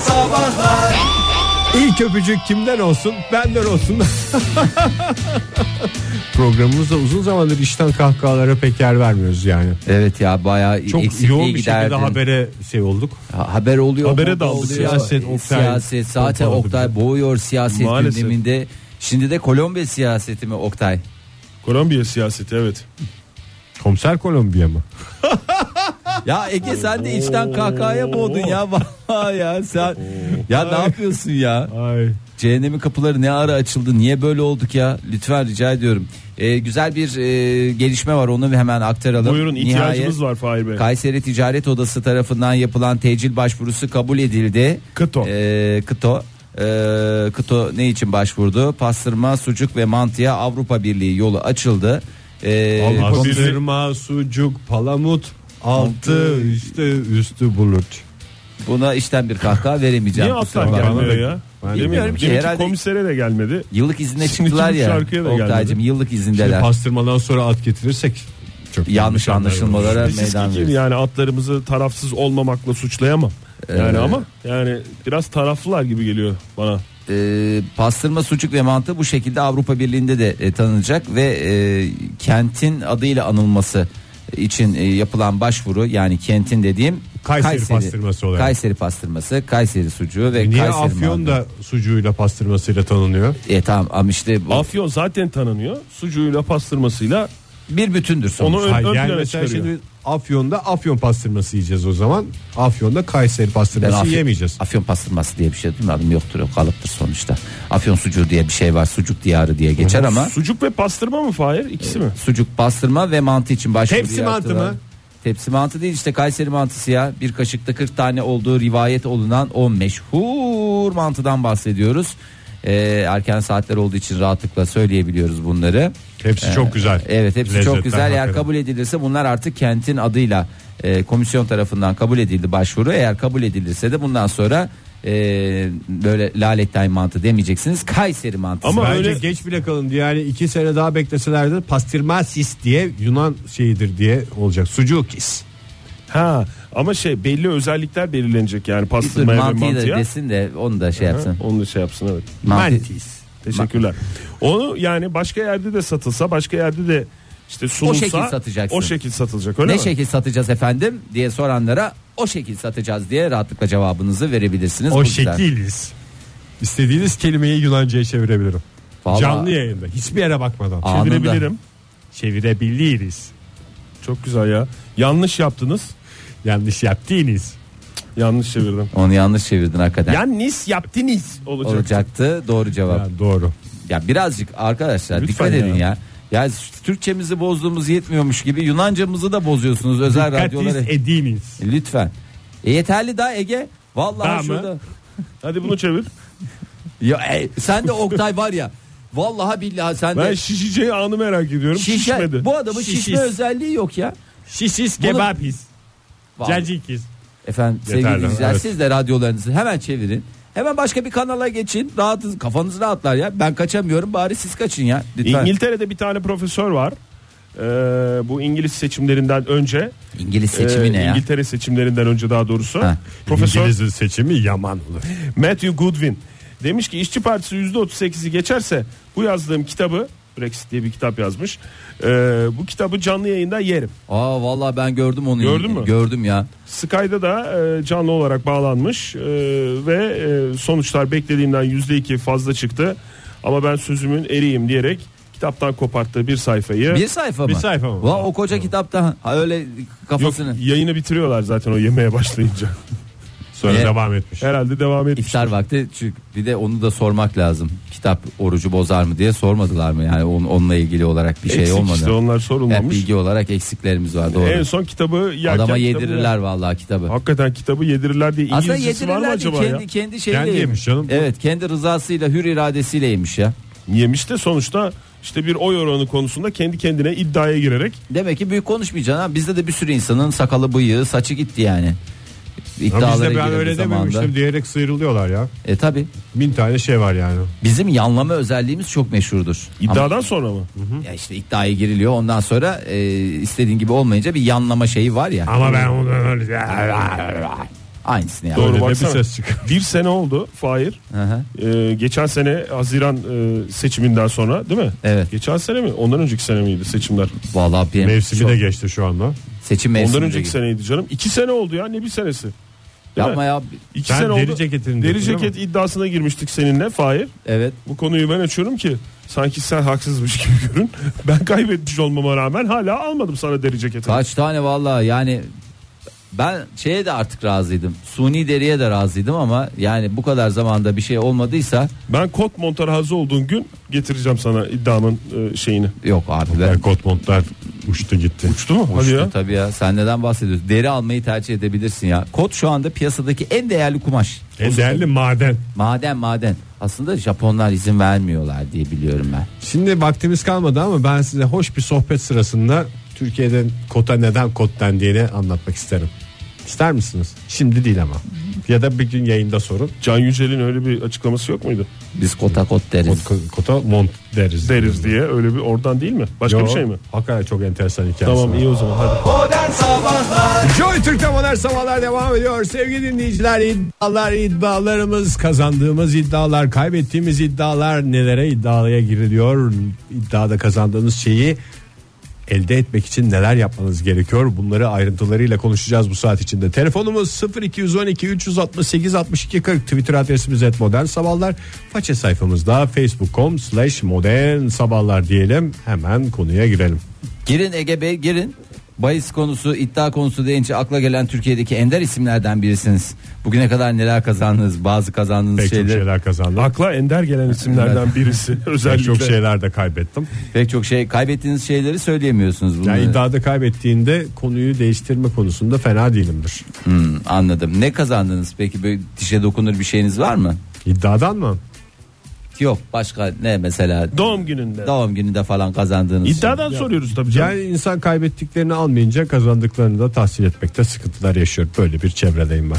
Sabahlar İlk öpücük kimden olsun? Benden olsun. Programımızda uzun zamandır işten kahkahalara pek yer vermiyoruz yani. Evet ya bayağı Çok eksikliği yoğun bir şekilde giderdin. habere şey olduk. Ha- haber oluyor. Habere moda daldık. oluyor. Siyaset, Oktay. Siyaset zaten Pompaladı Oktay boğuyor siyaset Maalesef. gündeminde. Şimdi de Kolombiya siyaseti mi Oktay? Kolombiya siyaseti evet Komiser Kolombiya mı? Ya Ege sen de içten kahkahaya boğdun ya. Vallahi ya sen ya ne yapıyorsun ya? Ay. Cehennemin kapıları ne ara açıldı? Niye böyle olduk ya? Lütfen rica ediyorum. Ee, güzel bir e, gelişme var onu bir hemen aktaralım. Buyurun ihtiyacımız var Fahir Bey Kayseri Ticaret Odası tarafından yapılan tecil başvurusu kabul edildi. Kıto. Ee, Kıto. Ee, Kıto ne için başvurdu? Pastırma, sucuk ve mantıya Avrupa Birliği yolu açıldı. Ee, Avrupa komis- Birliği. Pastırma, sucuk, palamut, altı üstü üstü bulut. buna işten bir kahkaha veremeyeceğim. Niye kusura atlar bakma. gelmiyor ya Ben Değil mi? bilmiyorum ki, Deminki herhalde- komisere de gelmedi Yıllık izine Şimdi çıktılar bu ya. şarkıya da Oktay'cım yıllık Şimdi izindeler. E, pastırmadan sonra at getirirsek çok Yanlış anlaşılmalara Biz meydan ki- veriyoruz. yani atlarımızı tarafsız olmamakla suçlayamam. Yani Ee, ama yani biraz taraflılar gibi geliyor bana. e, pastırma sucuk ve mantı bu şekilde Avrupa Birliği'nde de e, tanınacak ve e, kentin adıyla anılması için e, yapılan başvuru yani kentin dediğim Kayseri pastırması olarak. E, Kayseri pastırması, Kayseri sucuğu ve Niye Kayseri Afyon mantı. da sucuğuyla pastırmasıyla tanınıyor? E tamam ama işte bu Afyon zaten tanınıyor. Sucuğuyla pastırmasıyla bir bütündür sonuç. Onu- Ön- Hayır, ön yani plana mesela çıkarıyor. şimdi Afyon'da Afyon pastırması yiyeceğiz o zaman. Afyon'da Kayseri Ben pastırması afyon, yemeyeceğiz. afyon pastırması diye bir şey duymadım yoktur o kalıptır sonuçta. Afyon sucuğu diye bir şey var sucuk diyarı diye geçer ama sucuk ve pastırma mı Fahir? İkisi mi? sucuk pastırma ve mantı için başvuru Tepsi mantı yaptılar. mı? Tepsi mantı değil işte Kayseri mantısı ya. Bir kaşıkta 40 tane olduğu rivayet olunan o meşhur mantıdan bahsediyoruz. Ee, erken saatler olduğu için rahatlıkla söyleyebiliyoruz bunları. Hepsi çok güzel. Ee, Evet hepsi Lezzetler çok güzel. Eğer hakikaten. kabul edilirse bunlar artık kentin adıyla e, komisyon tarafından kabul edildi başvuru. Eğer kabul edilirse de bundan sonra e, böyle lalettay mantı demeyeceksiniz. Kayseri mantısı. Ama Bence öyle- geç bile kalındı yani iki sene daha bekleselerdi pastırmasis diye Yunan şeyidir diye olacak. Sucukis. Ha ama şey belli özellikler belirlenecek yani Dur, pastırmaya ve mantıyı da mantıya. desin de onu da şey Ha, yapsın. Onu da şey yapsın evet. Mantı- Mantis. Teşekkürler. Onu yani başka yerde de satılsa başka yerde de işte sunulsa şekil satacaksın. O şekil satılacak öyle ne mi? şekil satacağız efendim diye soranlara o şekil satacağız diye rahatlıkla cevabınızı verebilirsiniz. Bu O güzel. şekiliz. İstediğiniz kelimeyi Yunanca'ya çevirebilirim. Vallahi- Canlı yayında hiçbir yere bakmadan Aa. anında. Çevirebilirim. çevirebiliriz. Çok güzel ya. Yanlış yaptınız. Yanlış yaptığınız. Yanlış çevirdim. Onu yanlış çevirdin hakikaten. Yanlış yaptınız olacak. olacaktı. Doğru cevap. Ya doğru. Ya birazcık arkadaşlar Lütfen dikkat edin ya. ya. Ya Türkçemizi bozduğumuz yetmiyormuş gibi Yunancamızı da bozuyorsunuz özel Dikkatis radyolara. ediniz. Lütfen. E yeterli daha Ege. Vallahi Daha mı? şurada. Hadi bunu çevir. Ya e, sen de Oktay var ya. Vallahi billahi sen Ben de şişeceği anı merak ediyorum. Şişmedi. Bu adamın Şişis. şişme özelliği yok ya. Şişis Bunu- kebapis. Vallahi. Cacikis. Efendim sevgili Yeterli, dinleyiciler evet. siz de radyolarınızı hemen çevirin. Hemen başka bir kanala geçin. Rahatınız, kafanız rahatlar ya. Ben kaçamıyorum bari siz kaçın ya. Lütfen. İngiltere'de bir tane profesör var. Ee, bu İngiliz seçimlerinden önce İngiliz e, seçimi ne ya? İngiltere seçimlerinden önce daha doğrusu Ha. Profesör İngiliz'in seçimi yaman olur. Matthew Goodwin demiş ki işçi partisi %38'i geçerse bu yazdığım kitabı Brexit diye bir kitap yazmış. Ee, bu kitabı canlı yayında yerim. Aa vallahi ben gördüm onu. Gördün mü? Gördüm ya. Sky'da da e, canlı olarak bağlanmış e, ve e, sonuçlar beklediğimden %2 fazla çıktı. Ama ben sözümün eriyim diyerek kitaptan koparttığı bir sayfayı Bir sayfa mı? Bir sayfa mı? Va, o koca kitapta ha, öyle Yok, kafasını yayını bitiriyorlar zaten o yemeye başlayınca. Sonra Ne? devam etmiş. Herhalde devam etmiş. iftar vakti çünkü bir de onu da sormak lazım. Kitap orucu bozar mı diye sormadılar mı? Yani on- onunla ilgili olarak bir şey Eksik olmadı. işte onlar Hep sorulmamış. bilgi olarak eksiklerimiz var doğru. En son kitabı yerken Adama kitabı- yedirirler vallahi kitabı. Hakikaten kitabı yedirirler diye Aslında İngilizcesi var mı yedirirler değil acaba kendi ya? kendi şeyiyle Kendi yemiş canım. Evet kendi rızasıyla hür iradesiyle yemiş ya. Yemiş de sonuçta işte bir oy oranı konusunda kendi kendine iddiaya girerek Demek ki büyük konuşmayacaksın ha. Bizde de bir sürü insanın sakalı bıyığı saçı gitti yani. Ama bizde İddialara ben öyle girildi zamanda. dememiştim diyerek sıyrılıyorlar ya. E tabi Bin tane şey var yani. bizim yanlama özelliğimiz çok meşhurdur. iddiadan sonra mı? Ama ya işte iddiaya giriliyor ondan sonra e, istediğin gibi olmayınca bir yanlama şeyi var ya. Ama ben onu Aynısını yani. Doğru Öyle de bir baksana. ses çıkıyor. Bir sene oldu Fahir. Hı hı. Ee, geçen sene Haziran e, seçiminden sonra değil mi? Evet. Geçen sene mi? Ondan önceki sene miydi seçimler? Vallahi bir şey Mevsimi de geçti şu anda. seçim mevsimi. Ondan de önceki gibi. seneydi canım. İki sene oldu ya ne bir senesi. Değil Yapma mi? ya. İki Sen sene deri oldu. ceketini Deri diyorsun, ceket değil iddiasına girmiştik seninle Fahir. Evet. Bu konuyu ben açıyorum ki sanki sen haksızmış gibi görün. Ben kaybetmiş olmama rağmen hala almadım sana deri ceketi. Kaç tane vallahi yani ben şeye de artık razıydım. Suni deriye de razıydım ama yani bu kadar zamanda bir şey olmadıysa Ben kot monta razı olduğun gün getireceğim sana iddiamın e, şeyini. yok artık. mi? Yani kot montlar uçtu gitti. Uçtu mu? Hadi ya. Tabii ya sen neden bahsediyorsun? Deri almayı tercih edebilirsin ya. Kot şu anda piyasadaki en değerli kumaş. En E, değerli maden. Maden maden. Aslında Japonlar izin vermiyorlar diye biliyorum ben. Şimdi vaktimiz kalmadı ama ben size hoş bir sohbet sırasında Türkiye'den kota neden kot dendiğini anlatmak isterim. İster misiniz? Şimdi değil ama. Ya da bir gün yayında sorun. Can Yücel'in öyle bir açıklaması yok muydu? Biz kota kot deriz. Kot- ko- Kota mont deriz. Deriz diye öyle bir oradan değil mi? Başka Yo, bir şey mi? Hakikaten çok enteresan hikayesi. Tamam iyi o zaman hadi. Joy Türk'te modern sabahlar devam ediyor. Sevgili dinleyiciler iddialar iddialarımız kazandığımız iddialar kaybettiğimiz iddialar nelere iddialıya giriliyor. İddiada kazandığınız şeyi elde etmek için neler yapmanız gerekiyor bunları ayrıntılarıyla konuşacağız bu saat içinde. Telefonumuz 0212 368 62 40 Twitter adresimiz et modern sabahlar. Faça sayfamızda facebook.com slash modern sabahlar diyelim hemen konuya girelim. Girin Ege Bey girin. Bayis konusu iddia konusu deyince akla gelen Türkiye'deki ender isimlerden birisiniz. Bugüne kadar neler kazandınız bazı kazandığınız Pek şeyler. çok şeyler kazandık. Akla ender gelen isimlerden birisi. Pek Özellikle. çok şeyler de kaybettim. Pek çok şey kaybettiğiniz şeyleri söyleyemiyorsunuz. Bunları. Yani iddiada kaybettiğinde konuyu değiştirme konusunda fena değilimdir. Hmm, anladım. Ne kazandınız peki böyle dişe dokunur bir şeyiniz var mı? İddiadan mı? Yok başka ne mesela Doğum gününde. doğum gününde falan kazandığınız. şey. İddiadan soruyoruz tabii canım. Yani insan kaybettiklerini almayınca kazandıklarını da tahsil etmekte sıkıntılar yaşıyor. Böyle bir çevredeyim ben.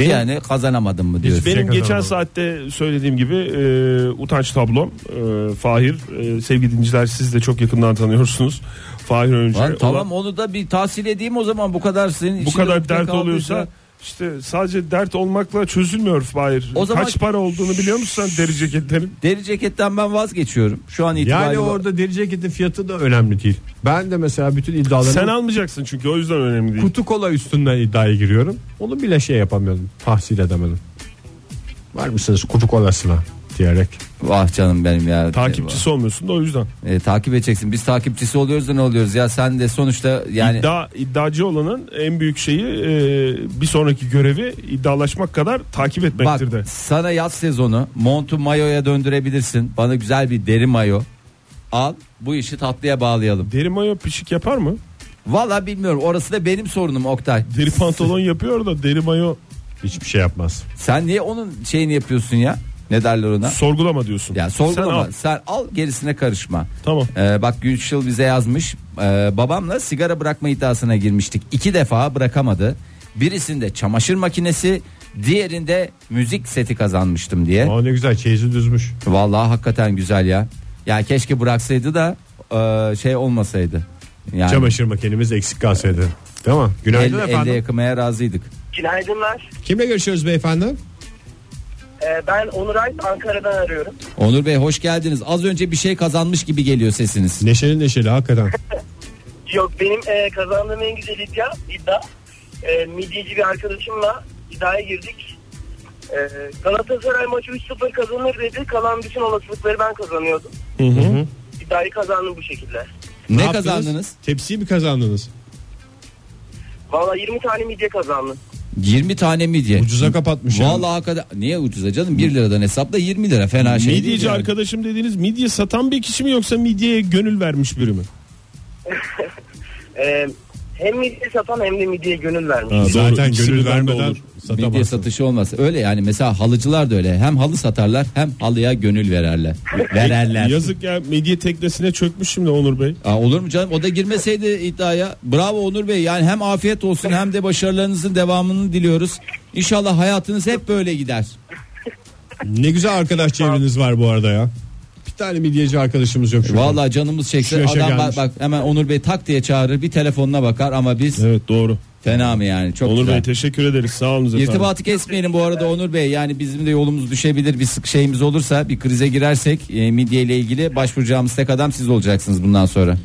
Yani kazanamadım mı diyorsun. Benim Teşekkür geçen ederim. saatte söylediğim gibi e, utanç tablom e, Fahir e, sevgili dinleyiciler siz de çok yakından tanıyorsunuz Fahir önce Lan tamam onu da bir tahsil edeyim o zaman bu kadar senin Şey, bu içinde kadar ukde dert kaldıysa- oluyorsa işte sadece dert olmakla çözülmüyor Fahir O zaman- kaç para olduğunu biliyor musun sen deri ceketlerin Deri ceketten ben vazgeçiyorum. Şu an itibariyle. Yani orada deri ceketin fiyatı da önemli değil. Ben de mesela bütün iddialarımı sen almayacaksın çünkü o yüzden önemli değil kutu kola üstünden iddiaya giriyorum. Onu bile şey yapamıyorum. Tahsil edemedim. Var mısınız kutu kolasına diyerek. Ah canım benim ya. takipçisi olmuyorsun da o yüzden E, takip edeceksin. Biz takipçisi oluyoruz da ne oluyoruz ya? Sen de sonuçta yani İddia, iddiacı olanın en büyük şeyi e, bir sonraki görevi iddialaşmak kadar takip bak etmektir de sana yaz sezonu montu mayoya döndürebilirsin. Bana güzel bir deri mayo al. Bu işi tatlıya bağlayalım. deri mayo pişik yapar mı? Valla bilmiyorum. Orası da benim sorunum Oktay. Deri pantolon yapıyor da deri mayo Hiçbir şey yapmaz. Sen niye onun şeyini yapıyorsun ya? Ne derler ona? sorgulama diyorsun. Ya sorgulama. Sen al. Sen al, gerisine karışma. Tamam. Ee, bak Gülşil bize yazmış. Ee, babamla sigara bırakma iddiasına girmiştik. İki defa bırakamadı. Birisinde çamaşır makinesi, diğerinde müzik seti kazanmıştım diye. Aa ne güzel çeyizi düzmüş. Şey Vallahi hakikaten güzel ya. Ya keşke bıraksaydı da e, şey olmasaydı. Yani Çamaşır makinemiz eksik kalsaydı. Değil mi? el, Günaydın elde efendim. yakmaya razıydık. Günaydınlar. Kimle görüşüyoruz beyefendi? Ee, ben Onur Alp Ankara'dan arıyorum. Onur Bey hoş geldiniz. Az önce bir şey kazanmış gibi geliyor sesiniz. Neşeli neşeli hakikaten. Yok benim e, kazandığım en güzel iddia, iddia e, midyeci bir arkadaşımla iddiaya girdik. E, Galatasaray maçı 3-0 kazanır dedi. Kalan bütün olasılıkları ben kazanıyordum. İddiayı kazandım bu şekilde. Ne, yaptınız? kazandınız? Tepsiyi mi kazandınız? Valla 20 tane midye kazandım. 20 tane midye. Ucuza kapatmış ya. Vallahi hakikaten niye ucuza canım 1 liradan hesapla 20 lira fena şey değil Midyeci yani. arkadaşım dediğiniz midye satan bir kişi mi yoksa midyeye gönül vermiş biri mi? E, hem midye satan hem de midyeye gönül vermiş. Ha, Zaten ikisi gönül birden de vermeden olur. Midye satamazsın. satışı olmaz. Öyle yani mesela halıcılar da öyle. Hem halı satarlar hem halıya gönül vererler. Vererler. Yazık ya midye teknesine çökmüş şimdi Onur Bey. Aa, olur mu canım? O da girmeseydi iddiaya. Bravo Onur Bey. Yani hem afiyet olsun hem de başarılarınızın devamını diliyoruz. İnşallah hayatınız hep böyle gider. Ne güzel arkadaş çevreniz var bu arada ya. Bir tane midyeci arkadaşımız yok şu an. Vallahi canımız Şu çekse yaşa adam bak, gelmiş. bak hemen Onur Bey tak diye çağırır bir telefonuna bakar ama biz Evet doğru. Fena mı yani? Çok Onur güzel. Bey teşekkür ederiz. Sağ olun efendim. İrtibatı kesmeyelim bu arada Onur Bey. Yani bizim de yolumuz düşebilir. Bir sık şeyimiz olursa bir krize girersek e, midye ile ilgili başvuracağımız tek adam siz olacaksınız bundan sonra.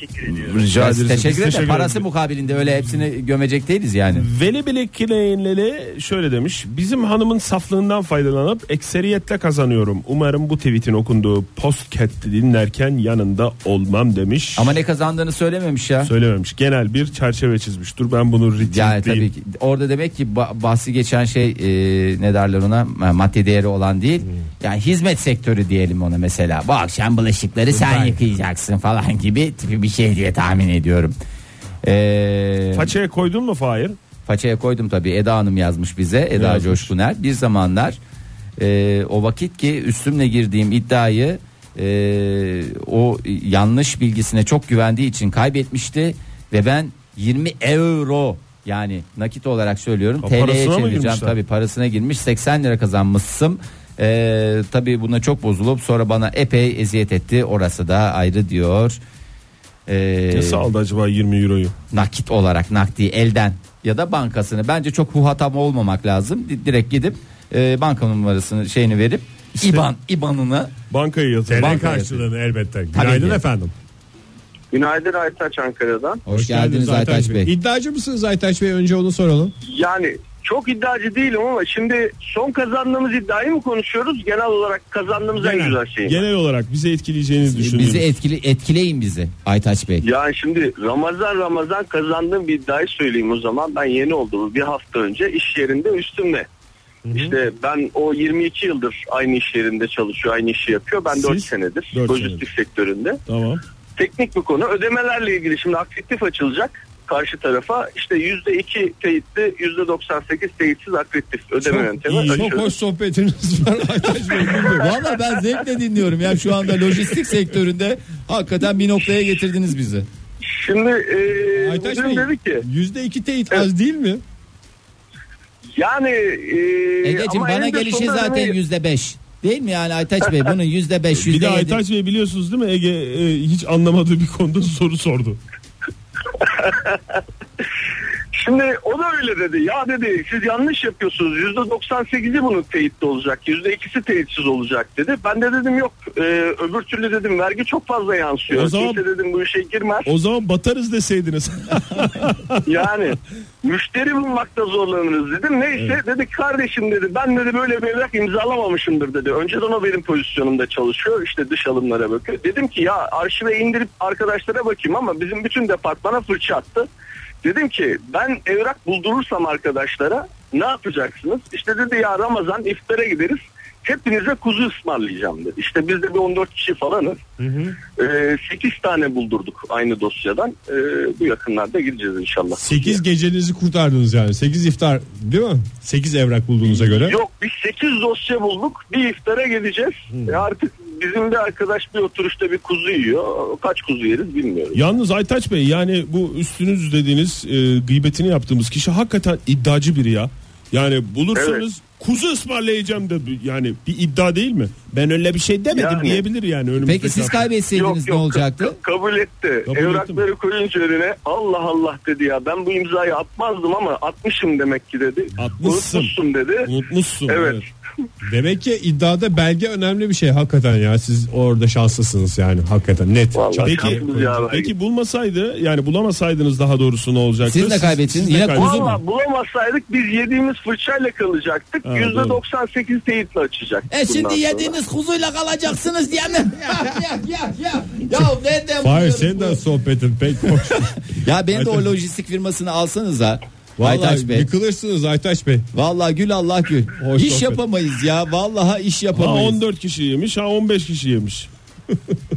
Teşekkür ediyorum. Rica Biz ederiz. Biz Teşekkür ederim. teşekkür Parası ederiz. mukabilinde öyle hepsini gömecek değiliz yani. Veli Bilekileyenlele şöyle demiş. Bizim hanımın saflığından faydalanıp ekseriyetle kazanıyorum. Umarım bu tweetin okunduğu podcast'i dinlerken yanında olmam demiş. Ama ne kazandığını söylememiş ya. Söylememiş. Genel bir çerçeve çizmiş. Dur ben bunu Yani tabii retweetleyeyim. ki orada demek ki ba- bahsi geçen şey e, ne derler ona Ma- maddi değeri olan değil. Yani hizmet sektörü diyelim ona mesela. Bu akşam bulaşıkları sen yıkayacaksın falan gibi tipi bir şey diye tahmin ediyorum. Ee, Façaya koydun mu Fahir? façaya koydum tabii Eda Hanım yazmış bize Eda yazmış? Coşkuner. Bir zamanlar e, o vakit ki üstümle girdiğim iddiayı e, o yanlış bilgisine çok güvendiği için kaybetmişti ve ben 20 euro yani nakit olarak söylüyorum Ha, TL'ye parasına mı çevireceğim girmişler? tabii parasına girmiş 80 lira kazanmışsın. E, tabii buna çok bozulup sonra bana epey eziyet etti orası da ayrı diyor. E, Nasıl aldı acaba 20 euroyu? nakit olarak nakdi elden ya da bankasını bence çok huhatam olmamak lazım Di- direkt gidip e, banka numarasını şeyini verip IBAN IBAN'ını Bankaya yatır. TL Bank- karşılığını elbette. Günaydın ki. efendim. Günaydın Aytaç Ankara'dan. hoş, geldiniz Aytaç Bey. İddiacı mısınız Aytaç Bey? Önce onu soralım. Yani çok iddiacı değilim ama şimdi son kazandığımız iddiayı mı konuşuyoruz? Genel olarak kazandığımız en güzel şey. Genel olarak bizi etkileyeceğinizi düşündüğünüz. Bizi e- etkili etkileyin bizi Aytaç Bey. Yani şimdi Ramazan Ramazan kazandığım bir iddiayı söyleyeyim o zaman. Ben yeni olduğum bir hafta önce iş yerinde üstümle. İşte ben o 22 yıldır aynı iş yerinde çalışıyor, aynı işi yapıyor. Ben Siz? 4 senedir Dört lojistik sektöründe. Tamam. Teknik bir konu. Ödemelerle ilgili şimdi aktif açılacak karşı tarafa. İşte %2 teyitli, %98 teyitsiz aktif ödeme yöntemi iyi, açıyoruz. sohbetiniz var Aytaç Bey. Valla ben zevkle dinliyorum ya şu anda lojistik sektöründe hakikaten bir noktaya getirdiniz bizi. Şimdi e, Aytaç müdürüm Bey, dedi ki Yüzde iki teyit az değil mi? yani e, Egeciğim ama bana eninde gelişi sonunda hani zaten ödemeyi- yüzde beş. Değil mi yani Aytaç Bey bunun yüzde beş Bir yüzde de yedi. Aytaç Bey biliyorsunuz değil mi Ege e, hiç anlamadığı bir konuda soru sordu. Şimdi o da öyle dedi. Ya dedi siz yanlış yapıyorsunuz. %98'i bunun teyitli olacak. %2'si teyitsiz olacak dedi. Ben de dedim yok. e, öbür türlü dedim vergi çok fazla yansıyor. O zaman- Kimse dedim bu işe girmez. O zaman batarız deseydiniz. Yani müşteri bulmakta zorlanırız dedim. Neyse dedi kardeşim dedi ben dedi böyle bir evrak imzalamamışımdır dedi. Önceden o benim pozisyonumda çalışıyor işte dış alımlara bakıyor. Dedim ki ya arşive indirip arkadaşlara bakayım ama bizim bütün departmana fırça attı. Dedim ki ben evrak buldurursam arkadaşlara ne yapacaksınız? İşte dedi ya Ramazan iftara gideriz. Hepinize kuzu ısmarlayacağım dedi. İşte biz de bir 14 kişi falanız. 8 Ee, tane buldurduk aynı dosyadan. E, bu yakınlarda gideceğiz inşallah. 8 gecenizi kurtardınız yani. 8 iftar değil mi? 8 evrak bulduğunuza göre. Yok biz 8 dosya bulduk. Bir iftara gideceğiz. E, artık bizim de arkadaş bir oturuşta bir kuzu yiyor. Kaç kuzu yeriz bilmiyoruz. Yalnız Aytaç Bey yani bu üstünüz dediğiniz e, gıybetini yaptığımız kişi hakikaten iddiacı biri ya. Yani bulursanız kuzu ısmarlayacağım da bir- yani bir iddia değil mi? Ben öyle bir şey demedim Yani. diyebilir yani önümüzdeki Peki siz hafta. kaybetseydiniz ne ka- olacaktı? ka- kabul etti. Kabul Evrakları koyunca önüne Allah Allah dedi ya ben bu imzayı atmazdım ama atmışım demek ki dedi. Atmışsın. Unutmuşum dedi. Unutmuşsun. Evet. Demek ki iddiada belge önemli bir şey hakikaten ya. Siz orada şanslısınız yani hakikaten net. Vallahi Çok- Peki, Şansımız ya belki. peki bulmasaydı yani bulamasaydınız daha doğrusu ne olacaktı? Siz de kaybettiniz. Yine kaybettiniz. kuzu mu? Valla bulamasaydık biz yediğimiz fırçayla kalacaktık. Ha, %98 teyitle açacak. E bundan şimdi sonra. yediğiniz kuzuyla kalacaksınız diyemem. ya ya ya ya. Ya nereden Hayır buluyoruz senin bunu? de sohbetin pek hoş. Ya beni de o Aytaç- lojistik firmasını alsanıza. Aytaç Vallahi Bey. yıkılırsınız Aytaş Bey. Vallahi gül Allah gül. Hoş iş sohbet. yapamayız ya. Vallahi iş Ha yapamayız. 14 kişi yemiş ha 15 kişi yemiş.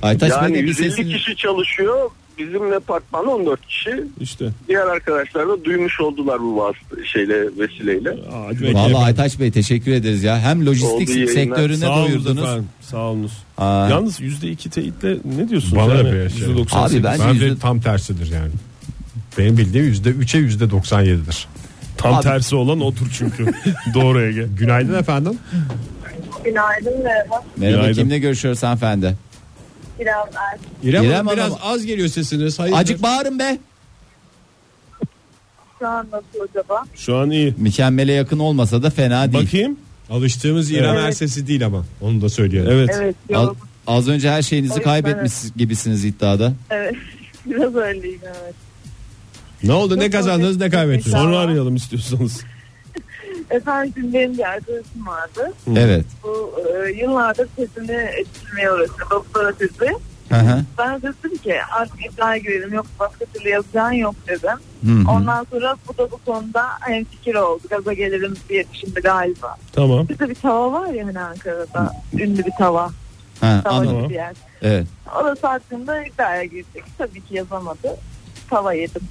Aytaç Yani Bey de bir 150 sesini... kişi çalışıyor. Bizim departman 14 kişi. İşte. Diğer arkadaşlar da duymuş oldular bu vasıta şeyle vesileyle. Hadi Peki bakalım. Vallahi Aytaç Bey teşekkür ederiz ya. Hem lojistik Oldu yayınlar. sektörüne Sağ olunuz doyurdunuz. efendim. Sağ olunuz. Aa. Yalnız %2 teyitle ne diyorsunuz? Bana da yani? bir şey. %98. Abi ben- Bence Hani yüzde- tam tersidir yani. Benim bildiğim yüzde üçe yüzde doksan yedidir. Tam Abi- tersi olan otur çünkü. Doğru Ege. Günaydın efendim. Günaydın merhaba. Merhaba Günaydın. kimle görüşüyoruz hanımefendi? Biraz erken. İrem, İrem Hanım Hanım- biraz az geliyor sesiniz. Hayır. Acık bağırın be. şu an nasıl acaba? Şu an iyi. Mükemmele yakın olmasa da fena değil. Bakayım. Alıştığımız İrem Evet. Ersesi değil ama onu da söyleyelim. Evet. Evet, Al- yok. az önce her O şeyinizi yüzden kaybetmiş gibisiniz iddiada. Evet. Biraz öyleyim evet. Ne oldu ne Yok, kazandınız ne öyle. kaybettiniz? Sağ ol. Sonra arayalım istiyorsanız. Efendim benim bir arkadaşım vardı. Evet. Bu e, yıllardır sesini ettirmeye uğraştı. Doktora sesi. Hı hı. Ben de dedim ki artık iddiaya girelim yok başka türlü yazacağın yok dedim. Hı hı. Ondan sonra bu da bu konuda hem fikir oldu. Gaza gelelim diye düşündü galiba. Tamam. Bizde bir tava var ya hani Ankara'da. Ünlü bir tava. Ha, anladım. Tava bir yer. Evet. Orası hakkında iddiaya girdik. Tabii ki yazamadı. Tava yedim.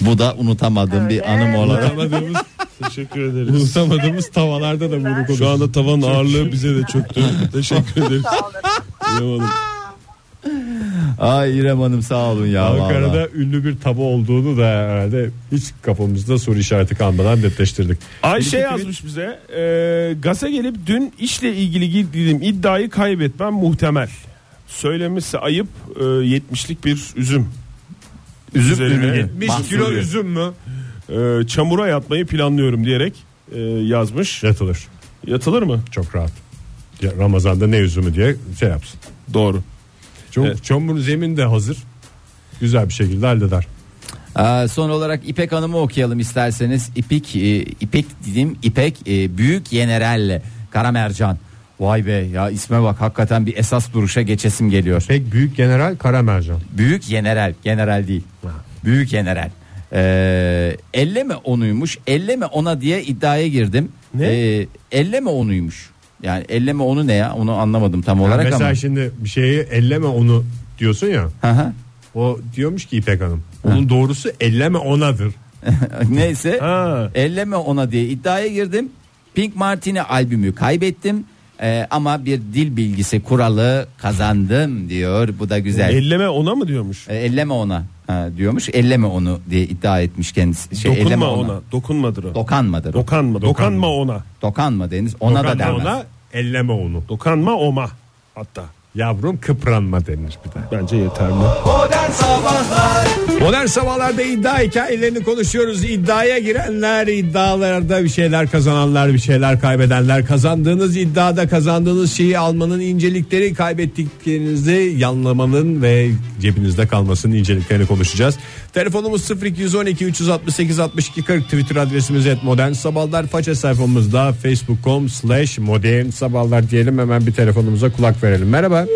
Bu da unutamadığım Öyle. bir anım olarak. Unutamadığımız teşekkür ederiz. Unutamadığımız tavalarda da vuruk Şu anda tavanın ağırlığı bize de çöktü. teşekkür ederiz. Sağ olun. İrem Hanım. Ay İrem Hanım sağ olun ya. Ankara'da vallahi. ünlü bir tava olduğunu da herhalde hiç kafamızda soru işareti kalmadan netleştirdik. Ayşe şey yazmış bize. E, gaza gelip dün işle ilgili girdiğim iddiayı kaybetmem muhtemel. Söylemesi ayıp e, 70'lik bir üzüm. üzüm üzerine ürünü. 70 mahsulü. kilo üzüm. mü? E, çamura yatmayı planlıyorum diyerek e, yazmış. Yatılır. Yatılır mı? Çok rahat. Ya Ramazan'da ne üzümü diye şey yapsın. Doğru. Çok, Evet. Çamur zemin de hazır. Güzel bir şekilde halleder. Ee, son olarak İpek Hanım'ı okuyalım isterseniz. İpek, e, İpek dedim İpek e, Büyük Yenerelle Karamercan. Vay be ya isme bak hakikaten bir esas duruşa geçesim geliyor. Pek büyük general Karamercan. Büyük Yeneral, General değil. Büyük Yeneral. Ee, elle mi onuymuş, elle mi ona diye iddiaya girdim. Ne? Ee, elle mi onuymuş. Yani elle mi onu ne ya onu anlamadım tam olarak mesela ama. şimdi bir şeyi elleme onu diyorsun ya. Hı hı. O diyormuş ki İpek Hanım. Onun doğrusu elleme onadır. Neyse. Ha. Elleme ona diye iddiaya girdim. Pink Martini albümü kaybettim. Ee, ama bir dil bilgisi kuralı kazandım diyor. Bu da güzel. Elleme ona mı diyormuş? Ee, elleme ona ha, diyormuş. Elleme onu diye iddia etmiş kendisi. Şey, elleme Dokunma ona. Dokunmadır o. Dokanmadır. o. Dokanma. Dokanma ona. Dokanma deniz. Ona da Dokanma denmez. ona elleme onu. Dokanma oma. Hatta. Yavrum kıpranma denir bir de. Bence yeterli. Modern sabahlarda iddia hikayelerini konuşuyoruz. İddiaya girenler, iddialarda bir şeyler kazananlar, bir şeyler kaybedenler. Kazandığınız iddiada kazandığınız şeyi almanın incelikleri, kaybettiklerinizi yanlamanın ve cebinizde kalmasının inceliklerini konuşacağız. Telefonumuz 0212 368 62 40 Twitter adresimiz et modern sabahlar. Faça sayfamızda facebook.com slash modern sabahlar diyelim. Hemen bir telefonumuza kulak verelim. Merhaba.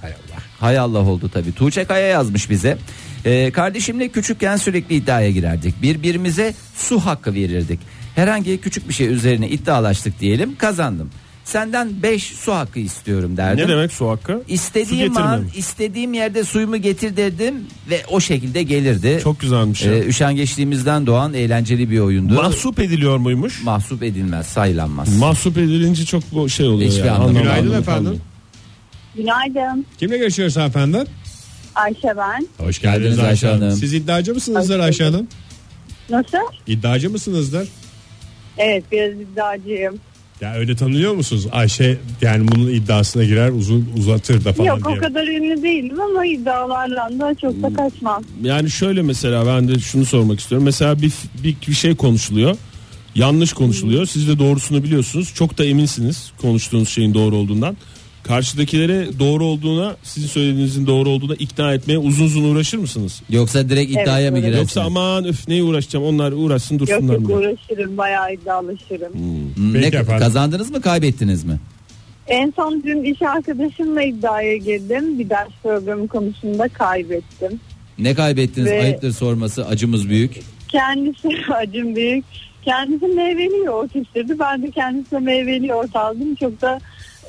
Hay Allah. Hay Allah oldu tabii. Tuğçe Kaya yazmış bize. Ee, kardeşimle küçükken sürekli iddiaya girerdik. Birbirimize su hakkı verirdik. Herhangi küçük bir şey üzerine iddialaştık diyelim kazandım. Senden 5 su hakkı istiyorum derdim. Ne demek su hakkı? İstediğim Su an getirmemiş. istediğim yerde suyumu getir dedim ve o şekilde gelirdi. Çok güzelmiş. ya. ee, üşengeçliğimizden doğan eğlenceli bir oyundu. Mahsup ediliyor muymuş? Mahsup edilmez, saylanmaz. Mahsup edilince çok bu şey oluyor. Hiçbir yani. anlamı Anlamı- Günaydın anlamı efendim. kalmıyor. Günaydın. Kimle görüşüyoruz efendim? Ayşe ben. Hoş geldiniz Ayşe Hanım. Siz iddiacı mısınızdır Hoş Ayşe Hanım? Nasıl? İddiacı mısınızdır? Evet biraz iddiacıyım. Ya öyle tanınıyor musunuz? Ayşe yani bunun iddiasına girer uzun uzatır da falan Yok diye. o kadar ünlü değilim ama iddialarla da çok da kaçmam. Yani şöyle mesela ben de şunu sormak istiyorum. Mesela bir, bir, bir şey konuşuluyor. Yanlış konuşuluyor. Siz de doğrusunu biliyorsunuz. Çok da eminsiniz konuştuğunuz şeyin doğru olduğundan. Karşıdakilere doğru olduğuna, sizin söylediğinizin doğru olduğuna ikna etmeye uzun uzun uğraşır mısınız? Yoksa direkt Evet, iddiaya mı öyle. girersiniz? Yoksa aman öf neye uğraşacağım onlar uğraşsın Yok dursunlar yok mı? uğraşırım bayağı iddialaşırım. Hmm, ne, Peki efendim. kazandınız mı, kaybettiniz mi? En son dün iş arkadaşımla iddiaya girdim. Bir ders programı konusunda kaybettim. Ne kaybettiniz? Ve- Ayıptır sorması. Acımız büyük. Kendisi acım büyük. Kendisi meyveli yoğurt istedi. Ben de kendisine meyveli yoğurt aldım. Çok da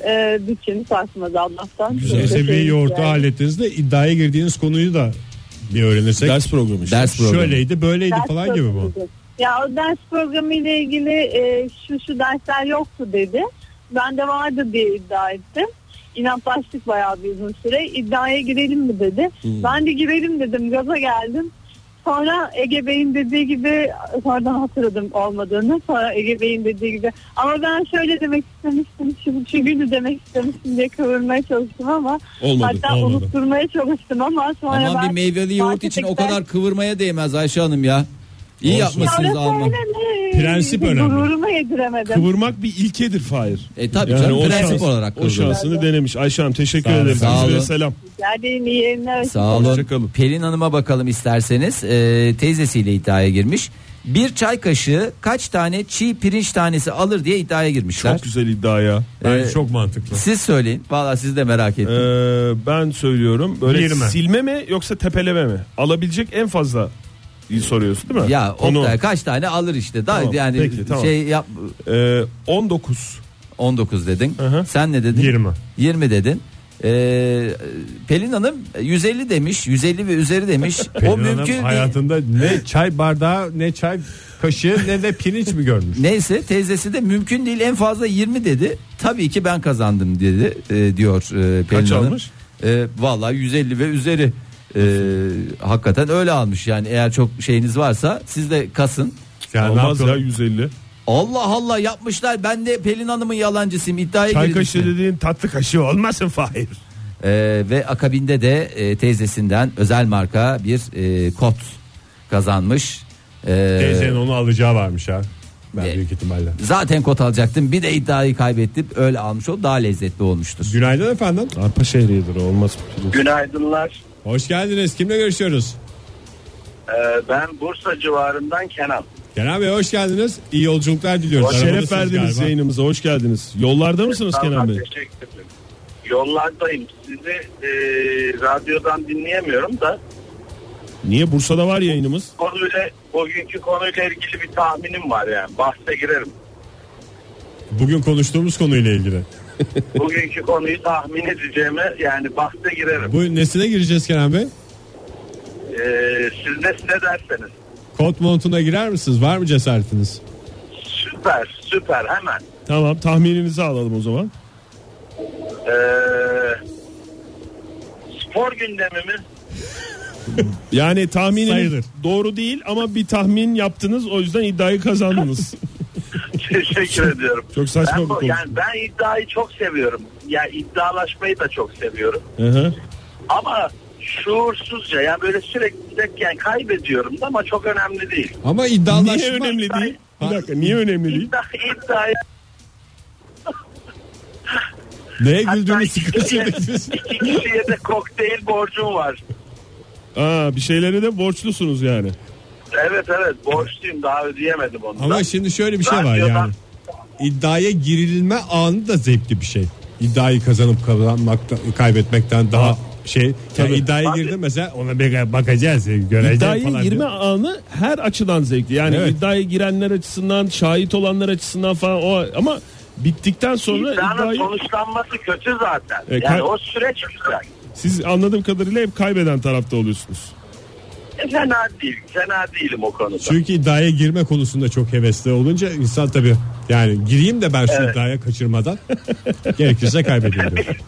e, bütçemi sarsmadı Allah'tan. Çok da Neyse bir sevindim yoğurtu yani. hallettiniz de iddiaya girdiğiniz konuyu da bir öğrenirsek. Ders programı işte. Ders programı. Şöyleydi böyleydi Ders falan gibi bu. programı. Ya o ders programı ile ilgili e, şu şu dersler yoktu dedi. Ben de vardı diye iddia ettim. İnatlaştık Hmm. bayağı bir uzun süre. İddiaya girelim mi dedi. Ben de girelim dedim. Gaza geldim. Sonra Ege Bey'in dediği gibi sonradan hatırladım olmadığını. Sonra Ege Bey'in dediği gibi ama ben şöyle demek istemiştim, şu, şu günü demek istemiştim diye kıvırmaya çalıştım ama Olmadı, hatta olmadı. unutturmaya çalıştım ama sonra Aman ben bir meyveli yoğurt için o marketten- kadar kıvırmaya değmez Ayşe Hanım ya. İyi Olsun. yapmışsınız Ya orası Alman. öyle mi? Prensip önemli. Gururuma yediremedim. Kıvırmak bir ilkedir Fahir. E tabii canım, prensip olarak o kıvrılır. şansını denemiş. Ayşe Hanım teşekkür Sağ olun, ederim. sağ Sizlere olun. selam. Yani iyi yayınlar. Sağ olun. Hoşçakalın. Pelin Hanım'a bakalım isterseniz. Ee, teyzesiyle iddiaya girmiş. Bir çay kaşığı kaç tane çiğ pirinç tanesi alır diye iddiaya girmişler. Çok güzel iddia ya. Bence Ee, çok mantıklı. Siz söyleyin. Valla sizi de merak ettim. Ee, ben söylüyorum. Böyle Bir mi? silme mi yoksa tepeleme mi? Alabilecek en fazla soruyorsun değil mi? ya Onu- Oktay kaç tane alır işte. Daha Ee, Tamam, yani peki, tamam. şey yap Ee, 19. 19 dedin. hı. Sen ne dedin? 20. 20 dedin. Ee, Pelin Hanım 150 demiş. 150 ve üzeri demiş. o Pelin Hanım mümkün değil. hayatında ne çay bardağı ne çay kaşığı ne de pirinç mi görmüş? Neyse teyzesi de mümkün değil en fazla 20 dedi. Tabii ki ben kazandım dedi e, diyor e, Pelin Kaç Hanım. almış? E, vallahi 150 ve üzeri. E, hakikaten öyle almış yani eğer çok şeyiniz varsa siz de kasın. Yani ne Olmaz ya yapalım? 150. Allah Allah yapmışlar ben de Pelin Hanım'ın yalancısıyım iddiaya Çay girdim kaşığı işte. dediğin tatlı kaşığı olmasın Fahir. E, ve akabinde de e, teyzesinden özel marka bir e, kot kazanmış. E, Teyzenin onu alacağı varmış ha. Ben Ne? büyük ihtimalle. zaten kot alacaktım bir de iddiayı kaybettim öyle almış o daha lezzetli olmuştur. Günaydın efendim. Arpa şehriyedir olmaz. Günaydınlar. Hoş geldiniz. Kimle görüşüyoruz? Ee, ben Bursa civarından Kenan. Kenan Bey hoş geldiniz. İyi yolculuklar diliyoruz. Şeref Arabadasınız verdiniz galiba. yayınımıza hoş geldiniz. Yollarda mısınız Kenan Bey? Teşekkür ederim. Yollardayım. Sizi e, radyodan dinleyemiyorum da Niye Bursa'da var yayınımız? konuyla o günkü konuyla ilgili bir tahminim var yani. Bahse girerim. Bugün konuştuğumuz konuyla ilgili. Bugünkü konuyu tahmin edeceğime yani bahse girerim. Bu nesine gireceğiz Kenan Bey? Ee, siz ne, ne derseniz. Kot montuna girer misiniz? Var mı cesaretiniz? Süper süper hemen. Tamam tahmininizi alalım o zaman. Ee, spor gündemi mi? Yani tahmininiz Sayılır. doğru değil ama bir tahmin yaptınız o yüzden iddiayı kazandınız. Teşekkür ediyorum. Çok saçma ben, bir bu- konu. Yani ben iddiayı çok seviyorum. Ya iddialaşmayı da çok seviyorum. Hı hı. Ama şuursuzca ya böyle sürekli de- yani kaybediyorum da ama çok önemli değil. Ama niye iddialaşma... önemli değil? Bir dakika niye önemli değil? İddia, iddiaya Neye güldüğünü iki kişiye, sıkıştırdınız. iki kişiye de kokteyl borcum var. Aa, bir şeylere de borçlusunuz yani. Evet evet borçluyum daha ödeyemedim onu. da. Ama şimdi şöyle bir şey var yani. İddiaya girilme anı da zevkli bir şey. İddiayı kazanıp kazanmaktan, kaybetmekten daha şey. Yani Tabii. iddiaya Abi- girdin mesela ona bir bakacağız, göreceğiz İddiaya falan. girme diye. anı her açıdan zevkli. Yani Evet. iddiaya girenler açısından, şahit olanlar açısından falan o ama bittikten sonra İddianın iddiayı sonuçlanması kötü zaten. E, kay- yani o süreç güzel. siz anladığım kadarıyla hep kaybeden tarafta oluyorsunuz. E, Fena değil. Fena değilim o konuda. Çünkü iddiaya girme konusunda çok hevesli olunca insan tabii yani gireyim de ben şu iddiaya kaçırmadan gerekirse kaybedeyim diyor.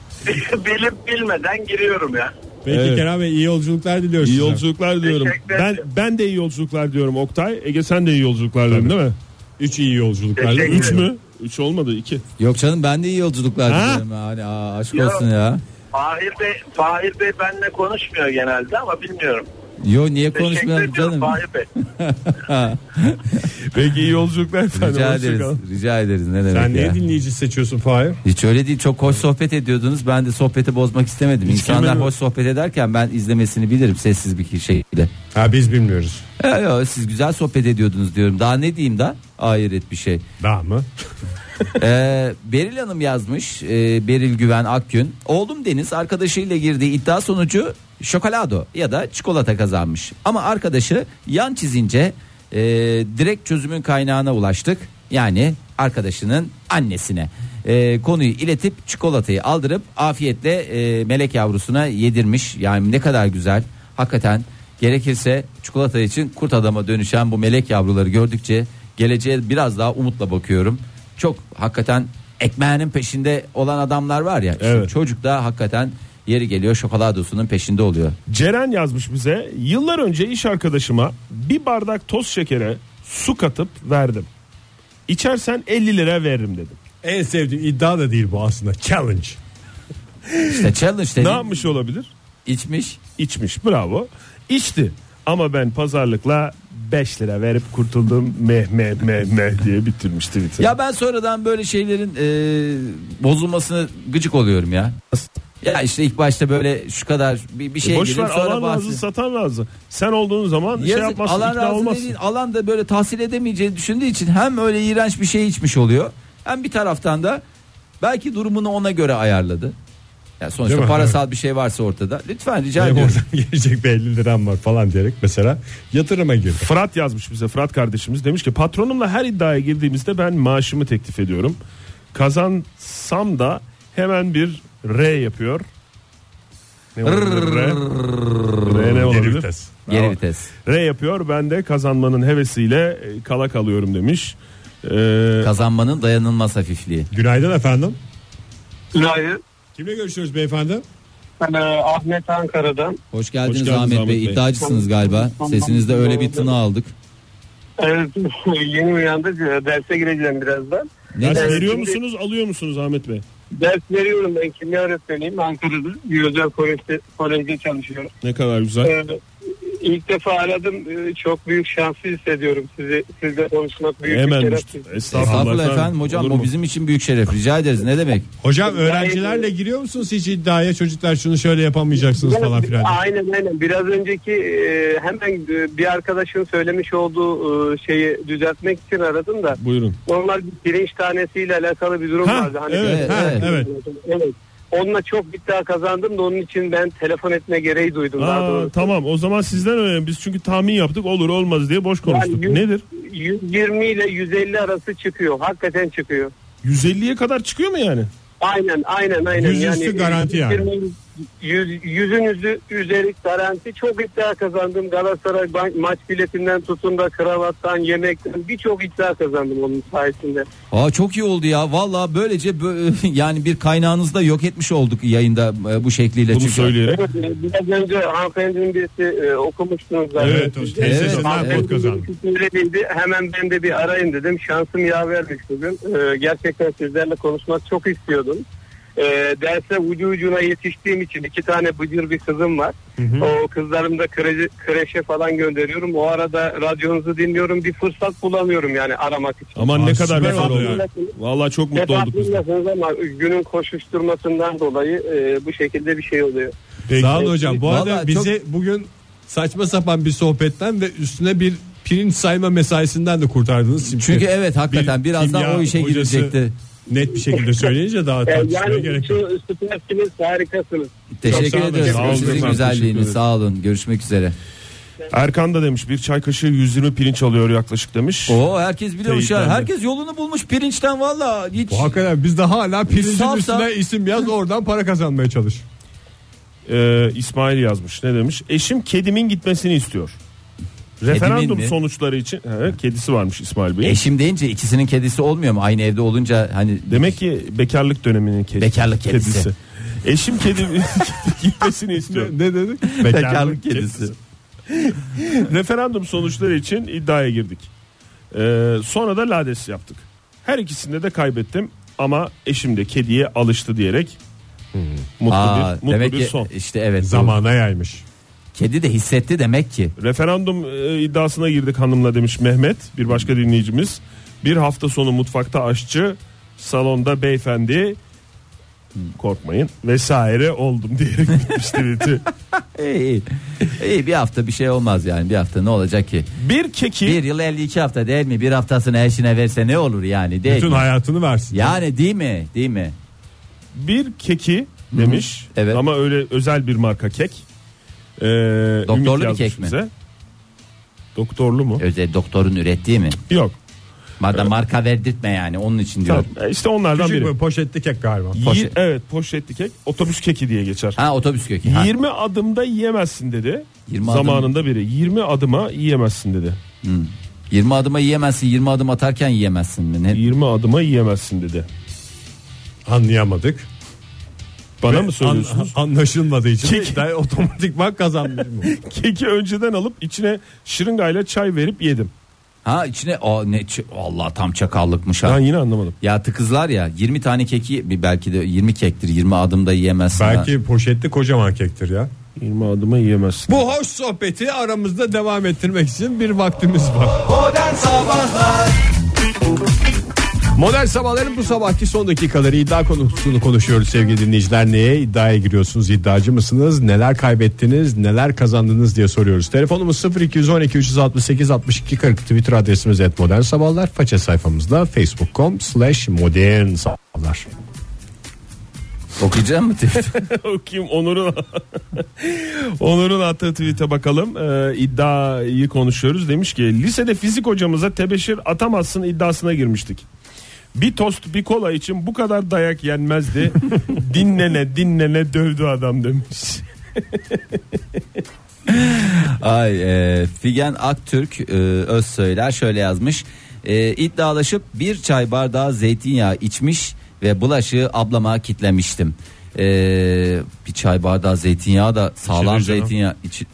Bilip bilmeden giriyorum ya. Peki Evet. Kerem Bey iyi yolculuklar diliyoruz. İyi size. yolculuklar diyorum. Teşekkür Ben ederim. ben de iyi yolculuklar diyorum Oktay. Ege sen de iyi yolculuklar dedin değil mi? Üç iyi yolculuklar. Teşekkür diliyorum. Üç mü? Üç olmadı iki. Yok canım ben de iyi yolculuklar Ha? diliyorum. Hani aa, aşk Yok. olsun ya. Fahir Bey, Fahir Bey benimle konuşmuyor genelde ama bilmiyorum. Yo niye Teşekkür konuşmuyorum canım? ediyorum Fahir Bey. Peki iyi yolculuklar efendim. Rica ederiz. Hoşçakalın. Rica ederiz. Ne demek Sen ya? niye dinleyici seçiyorsun Fahir? Hiç öyle değil. Çok hoş sohbet ediyordunuz. Ben de sohbeti bozmak istemedim. İnsanlar kemer- hoş sohbet ederken ben izlemesini bilirim sessiz bir şekilde. Ha biz bilmiyoruz. E, yo, siz güzel sohbet ediyordunuz diyorum. Daha ne diyeyim da? Hayret bir şey. Daha mı? Ee, Beril Hanım yazmış. Ee, Beril Güven Akgün. Oğlum Deniz arkadaşıyla girdiği iddia sonucu şokolado ya da çikolata kazanmış. Ama arkadaşı yan çizince e, direkt çözümün kaynağına ulaştık. Yani arkadaşının annesine. Ee, konuyu iletip çikolatayı aldırıp afiyetle e, melek yavrusuna yedirmiş. Yani ne kadar güzel. Hakikaten gerekirse çikolata için kurt adama dönüşen bu melek yavruları gördükçe geleceğe biraz daha umutla bakıyorum çok hakikaten ekmeğinin peşinde olan adamlar var ya. işte Evet. Çocuk da hakikaten yeri geliyor şokoladosunun peşinde oluyor. Ceren yazmış bize. Yıllar önce iş arkadaşıma bir bardak toz şekere su katıp verdim. İçersen 50 lira veririm dedim. En sevdiğim iddia da değil bu aslında. Challenge. İşte challenge Ne dedim. yapmış olabilir? İçmiş. İçmiş bravo. İçti ama ben pazarlıkla 5 lira verip kurtuldum meh meh meh meh diye bitirmiş Twitter. Ya ben sonradan böyle şeylerin e, bozulmasını gıcık oluyorum ya. Ya işte ilk başta böyle şu kadar bir, bir şey E, Boş ver girip sonra alan razı bahsi- satan razı. Sen olduğun zaman şey Yazık, yapmazsın alan ikna razı olmazsın. değil, alan da böyle tahsil edemeyeceğini düşündüğü için hem öyle iğrenç bir şey içmiş oluyor hem bir taraftan da belki durumunu ona göre ayarladı. Ya sonuçta Değil mi? parasal bir şey varsa ortada. Lütfen rica Benim ediyorum. oradan gelecek bir 50 liram var falan diyerek mesela yatırıma girdi. Fırat yazmış bize Fırat kardeşimiz demiş ki patronumla her iddiaya girdiğimizde ben maaşımı teklif ediyorum. Kazansam da hemen bir R yapıyor. Ne olabilir R? R ne Geri olabilir? vites. Geri vites. R yapıyor ben de kazanmanın hevesiyle e, kala kalıyorum demiş. Ee, Kazanmanın dayanılmaz hafifliği. Günaydın efendim. Günaydın. e, Kimle görüşüyoruz beyefendi? Ahmet Ankara'dan. Hoş geldiniz, Hoş geldiniz Ahmet, Ahmet Bey. Bey. İddiacısınız galiba. Sesinizde öyle bir tını aldık. Evet, yeni uyandık. E, Derse gireceğim birazdan. ders Evet, veriyor şimdi- musunuz alıyor musunuz Ahmet Bey? Ders veriyorum ben kimya öğretmeniyim Ankara'da. Bir özel kolejde, kolejde çalışıyorum. Ne kadar güzel. Ee, ilk defa aradım. Ee, Çok büyük şansı hissediyorum sizi. Sizle konuşmak büyük Hemen bir düştü. şeref. Estağfurullah efendim. Hocam Olur bu mu? bizim için büyük şeref. Rica ederiz. Ne demek? Hocam öğrencilerle giriyor musunuz hiç iddiaya çocuklar şunu şöyle yapamayacaksınız falan filan. diye. Aynen aynen. Biraz önceki e, hemen e, bir arkadaşın söylemiş olduğu e, şeyi düzeltmek için aradım da. Buyurun. Normal bir pirinç tanesiyle alakalı bir durum Ha, vardı. Hani evet, ha, Evet, evet. Evet. Onunla çok iddia kazandım da onun için ben telefon etme gereği duydum. daha Aa, doğrusu. tamam o zaman sizden önemli. Biz çünkü tahmin yaptık olur olmaz diye boş konuştuk. yüz- Nedir? 120 ile 150 arası çıkıyor. Hakikaten çıkıyor. 150'ye kadar çıkıyor mu yani? Aynen aynen aynen. Yüzüstü garanti yani. 120 Yüz, yüzünüzü üzeri garanti çok iddia kazandım. Galatasaray ba- maç biletinden tutun da kravattan yemekten birçok iddia kazandım onun sayesinde. Aa çok iyi oldu ya. Valla böylece bö- yani bir kaynağınızı da yok etmiş olduk yayında e, bu şekliyle. Bunu Çünkü- söyleyerek. Evet, e, biraz önce hanımefendinin birisi e, okumuştunuz zaten. Evet, o tesisinden Evet. kod kazandı. Söylediğinde hemen ben de bir arayın dedim. Şansım yaver istedim. Ee, gerçekten sizlerle konuşmak çok istiyordum. Ee, derse ucu ucuna yetiştiğim için iki tane bıcır bir kızım var. O kızlarımı da kreşe, kreşe falan gönderiyorum. O arada radyonuzu dinliyorum. Bir fırsat bulamıyorum yani aramak için. Aman Aa, ne kadar süper güzel oldu oluyor. ya. Vallahi çok mutlu olduk biz. de. Defaklıyasınız ama günün koşuşturmasından dolayı e, bu şekilde bir şey oluyor. Sağ olun hocam. Bu arada Vallahi bize bugün saçma sapan bir sohbetten ve üstüne bir pirinç sayma mesaisinden de kurtardınız. Çünkü, Çünkü evet hakikaten birazdan kimya o işe hocası girecekti. Net bir şekilde söyleyince daha E, tartışmaya yani şey- gerek yok. şu süpersiniz, harikasınız. Teşekkür Çok sağ olun. ediyoruz. Sağ olun Sizin efendim, teşekkür güzelliğiniz. ederim. Sağ olun. Görüşmek üzere. Erkan da demiş bir çay kaşığı 120 pirinç alıyor yaklaşık demiş. Oo herkes biliyormuş ya. Teyitlendi. Herkes yolunu bulmuş pirinçten valla. Hiç Bu hakikaten biz de hala pirincin Saf üstüne saf. isim yaz oradan para kazanmaya çalış. Ee, İsmail yazmış ne demiş? Eşim kedimin gitmesini istiyor. Referandum mi? sonuçları için He, kedisi varmış İsmail Bey. eşim deyince ikisinin kedisi olmuyor mu? Aynı evde olunca hani Demek ki bekarlık döneminin kedisi. Bekarlık kedisi. Eşim kedimin gitmesini istiyor. Ne dedik? bekarlık kedisi. Referandum sonuçları için iddiaya girdik. Ee, sonra da lades yaptık. Her ikisinde de kaybettim ama eşim de kediye alıştı diyerek mutlu Hmm. Aa, bir mutlu demek bir ki son. işte evet. Zaman. Zamana yaymış. Kedi de hissetti demek ki. Referandum e, iddiasına girdik hanımla demiş Mehmet bir başka dinleyicimiz. Bir hafta sonu mutfakta aşçı, salonda beyefendi korkmayın vesaire oldum diyerek bitmişti. beti. İyi, iyi. İyi, bir hafta bir şey olmaz yani. Bir hafta ne olacak ki? bir keki Bir yıl 52 hafta değil mi? Bir haftasını eşine verse ne olur yani? Değil Bütün mi? hayatını versin. Yani değil mi? Değil mi? bir keki demiş. Evet. Ama öyle özel bir marka kek. Ee, Doktorlu Ümit bir yazmış kek mi? bize. Doktorlu mu? Özel doktorun ürettiği mi? Yok. Madem marka verdirtme yani onun için diyor. Tamam. Ee, İşte onlardan Küçük biri. bir poşetli kek galiba. Yi- Poşet. evet poşetli kek. Otobüs keki diye geçer. Ha otobüs kökü. Ha. 20 adımda yiyemezsin dedi. 20 adım- Zamanında biri. 20 adıma yiyemezsin dedi. 20 adıma yiyemezsin. 20 adım atarken yiyemezsin mi? Ne? 20 adıma yiyemezsin dedi. Anlayamadık. Bana Ve mı söylüyorsunuz? an- anlaşılmadık. Keki- Ben otomatikman kazandım. Keki önceden alıp içine şırıngayla çay verip yedim. Ha içine o ne ç- Allah tam çakallıkmış ha. Ben yine anlamadım. Ya tıkızlar ya 20 tane keki bir belki de 20 kektir 20 adımda yiyemezsin. ha. Belki poşetli kocaman kektir ya. 20 adıma yiyemezsin. Bu hoş sohbeti aramızda devam ettirmek için bir vaktimiz var. Modern Sabahlar Modern sabahların bu sabahki son dakikaları iddia konusunu konuşuyoruz sevgili dinleyiciler. Neye iddiaya giriyorsunuz? İddiacı mısınız? Neler kaybettiniz? Neler kazandınız diye soruyoruz. Telefonumuz 0212 368 62 40. Twitter adresimiz et modern sabahlar. Faça sayfamızda facebook.com slash modern sabahlar. Okuyacak mı? Okuyayım Onur'un Onur'un attığı tweet'e bakalım. Ee, iddiayı konuşuyoruz. Demiş ki lisede fizik hocamıza tebeşir atamazsın iddiasına girmiştik. Bir tost bir kola için bu kadar dayak yenmezdi. dinlene dinlene dövdü adam demiş. Ay e, Figen Aktürk e, öz söyler şöyle yazmış. E, iddialaşıp bir çay bardağı zeytinyağı içmiş ve bulaşığı ablama kitlemiştim. E, bir çay bardağı zeytinyağı da sağlam İçilir canım. zeytinyağı içi,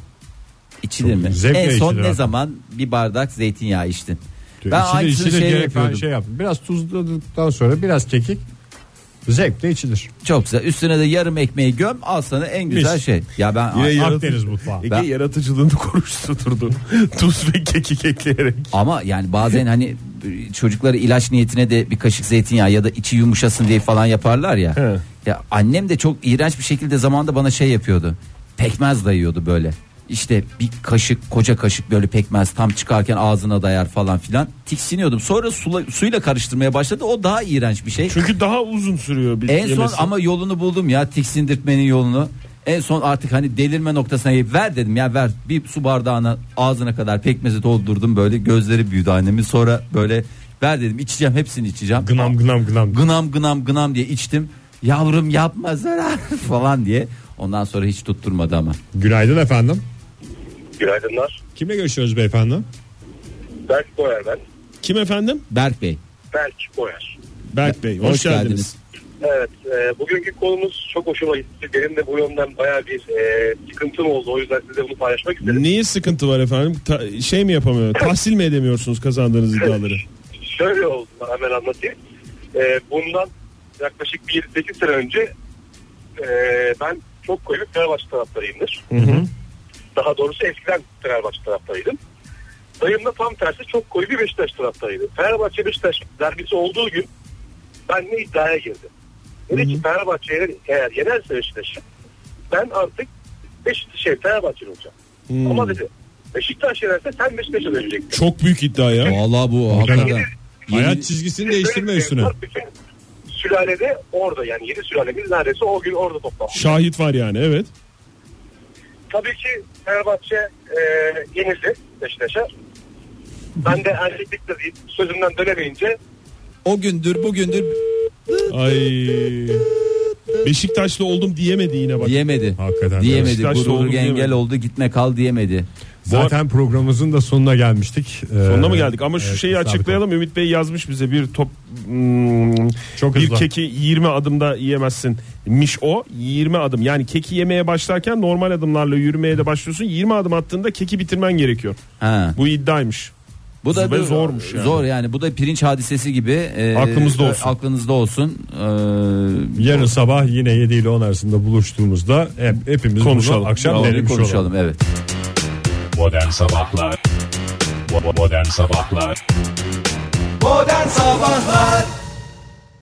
içilir mi? zevkle en son içilir ne hatta. zaman bir bardak zeytinyağı içtin? Ben Ben içilir, aynısını içilir şey gerek yapıyordum. ben şey yaptım. Biraz tuzladıktan sonra biraz kekik zevkle içilir. Çok güzel. Üstüne de yarım ekmeği göm al sana en güzel Mis. şey. Ya ben Akdeniz mutfağı. Ege Ben- yaratıcılığını konuşturdu. Tuz ve kekik ekleyerek. Ama yani bazen hani çocukları ilaç niyetine de bir kaşık zeytinyağı ya da içi yumuşasın diye falan yaparlar ya. He. Ya annem de çok iğrenç bir şekilde zamanda bana şey yapıyordu. Pekmez dayıyordu böyle. İşte bir kaşık koca kaşık böyle pekmez tam çıkarken ağzına dayar falan filan. Tiksiniyordum. Sonra sula- suyla karıştırmaya başladı. O daha iğrenç bir şey. Çünkü daha uzun sürüyor bir en son yemesi. ama yolunu buldum ya tiksindirtmenin yolunu. En son artık hani delirme noktasına gelip ver dedim ya ver bir su bardağına ağzına kadar pekmezi doldurdum böyle gözleri büyüdü annemin sonra böyle ver dedim içeceğim hepsini içeceğim. Gınam gınam gınam. Gınam gınam gınam diye içtim yavrum yapma zarar falan diye ondan sonra hiç tutturmadı ama. Günaydın efendim. Günaydınlar. Kimle görüşüyoruz beyefendi? Berk Boyer ben. Kim efendim? Berk Bey Berk Boyer. Berk Bey. Hoş, hoş geldiniz. geldiniz. Evet, e, bugünkü konumuz çok hoşuma gitti. Benim de bu yönden bayağı bir e, sıkıntım oldu. O yüzden size bunu paylaşmak istedim. Niye sıkıntı var efendim? Ta- şey mi yapamıyor? Tahsil mi edemiyorsunuz kazandığınız iddiaları? Şöyle oldu, hemen anlatayım. E, bundan yaklaşık bir 8 sene önce e, ben çok koyu bir Fenerbahçe taraftarıyımdır. Daha doğrusu eskiden Fenerbahçe taraftarıydım. Dayım da tam tersi çok koyu bir Beşiktaş taraftarıydı. Fenerbahçe Beşiktaş derbisi olduğu gün ben de iddiaya girdim. Dedi ki Fenerbahçe eğer, eğer yenerse Beşiktaş'ı ben artık Beşiktaş şey Fenerbahçe'li olacağım. Ama dedi Beşiktaş yenerse sen Beşiktaş'a döneceksin. Çok büyük iddia ya. Vallahi bu hakikaten. Hayat çizgisini değiştirme Böyle bir şey üstüne. var. Bütün Sülalede orada yani yeni sülalemiz neredeyse o gün orada toplandı. Şahit var yani evet. Tabii ki Fenerbahçe e, yenildi Beşiktaş'a. Ben de erkeklikle deyip sözümden dönemeyince O gündür bugündür Ay. Beşiktaşlı oldum diyemedi yine bak. diyemedi. Hakikaten. Diyemedi. Beşiktaşlı Gurur oldum engel diyemedi. oldu gitme kal diyemedi. Zaten programımızın da sonuna gelmiştik. Ee, Sonuna mı geldik? Ama şu şeyi açıklayalım. Ümit Bey yazmış bize bir top hmm, Çok bir hızlı. keki 20 adımda yiyemezsin. Miş o 20 adım. Yani keki yemeye başlarken normal adımlarla yürümeye de başlıyorsun. 20 adım attığında keki bitirmen gerekiyor. Ha. Bu iddiaymış. Bu da Ve bir- zormuş yani. Zor yani. Bu da pirinç hadisesi gibi. e, Aklımızda olsun. Aklınızda olsun. E, Yarın sabah yine 7 ile 10 arasında buluştuğumuzda hep, hepimiz Konuşalım. bunu akşam onu verilmiş konuşalım olalım. evet. Modern Sabahlar Bo- bo- Modern Sabahlar Modern Sabahlar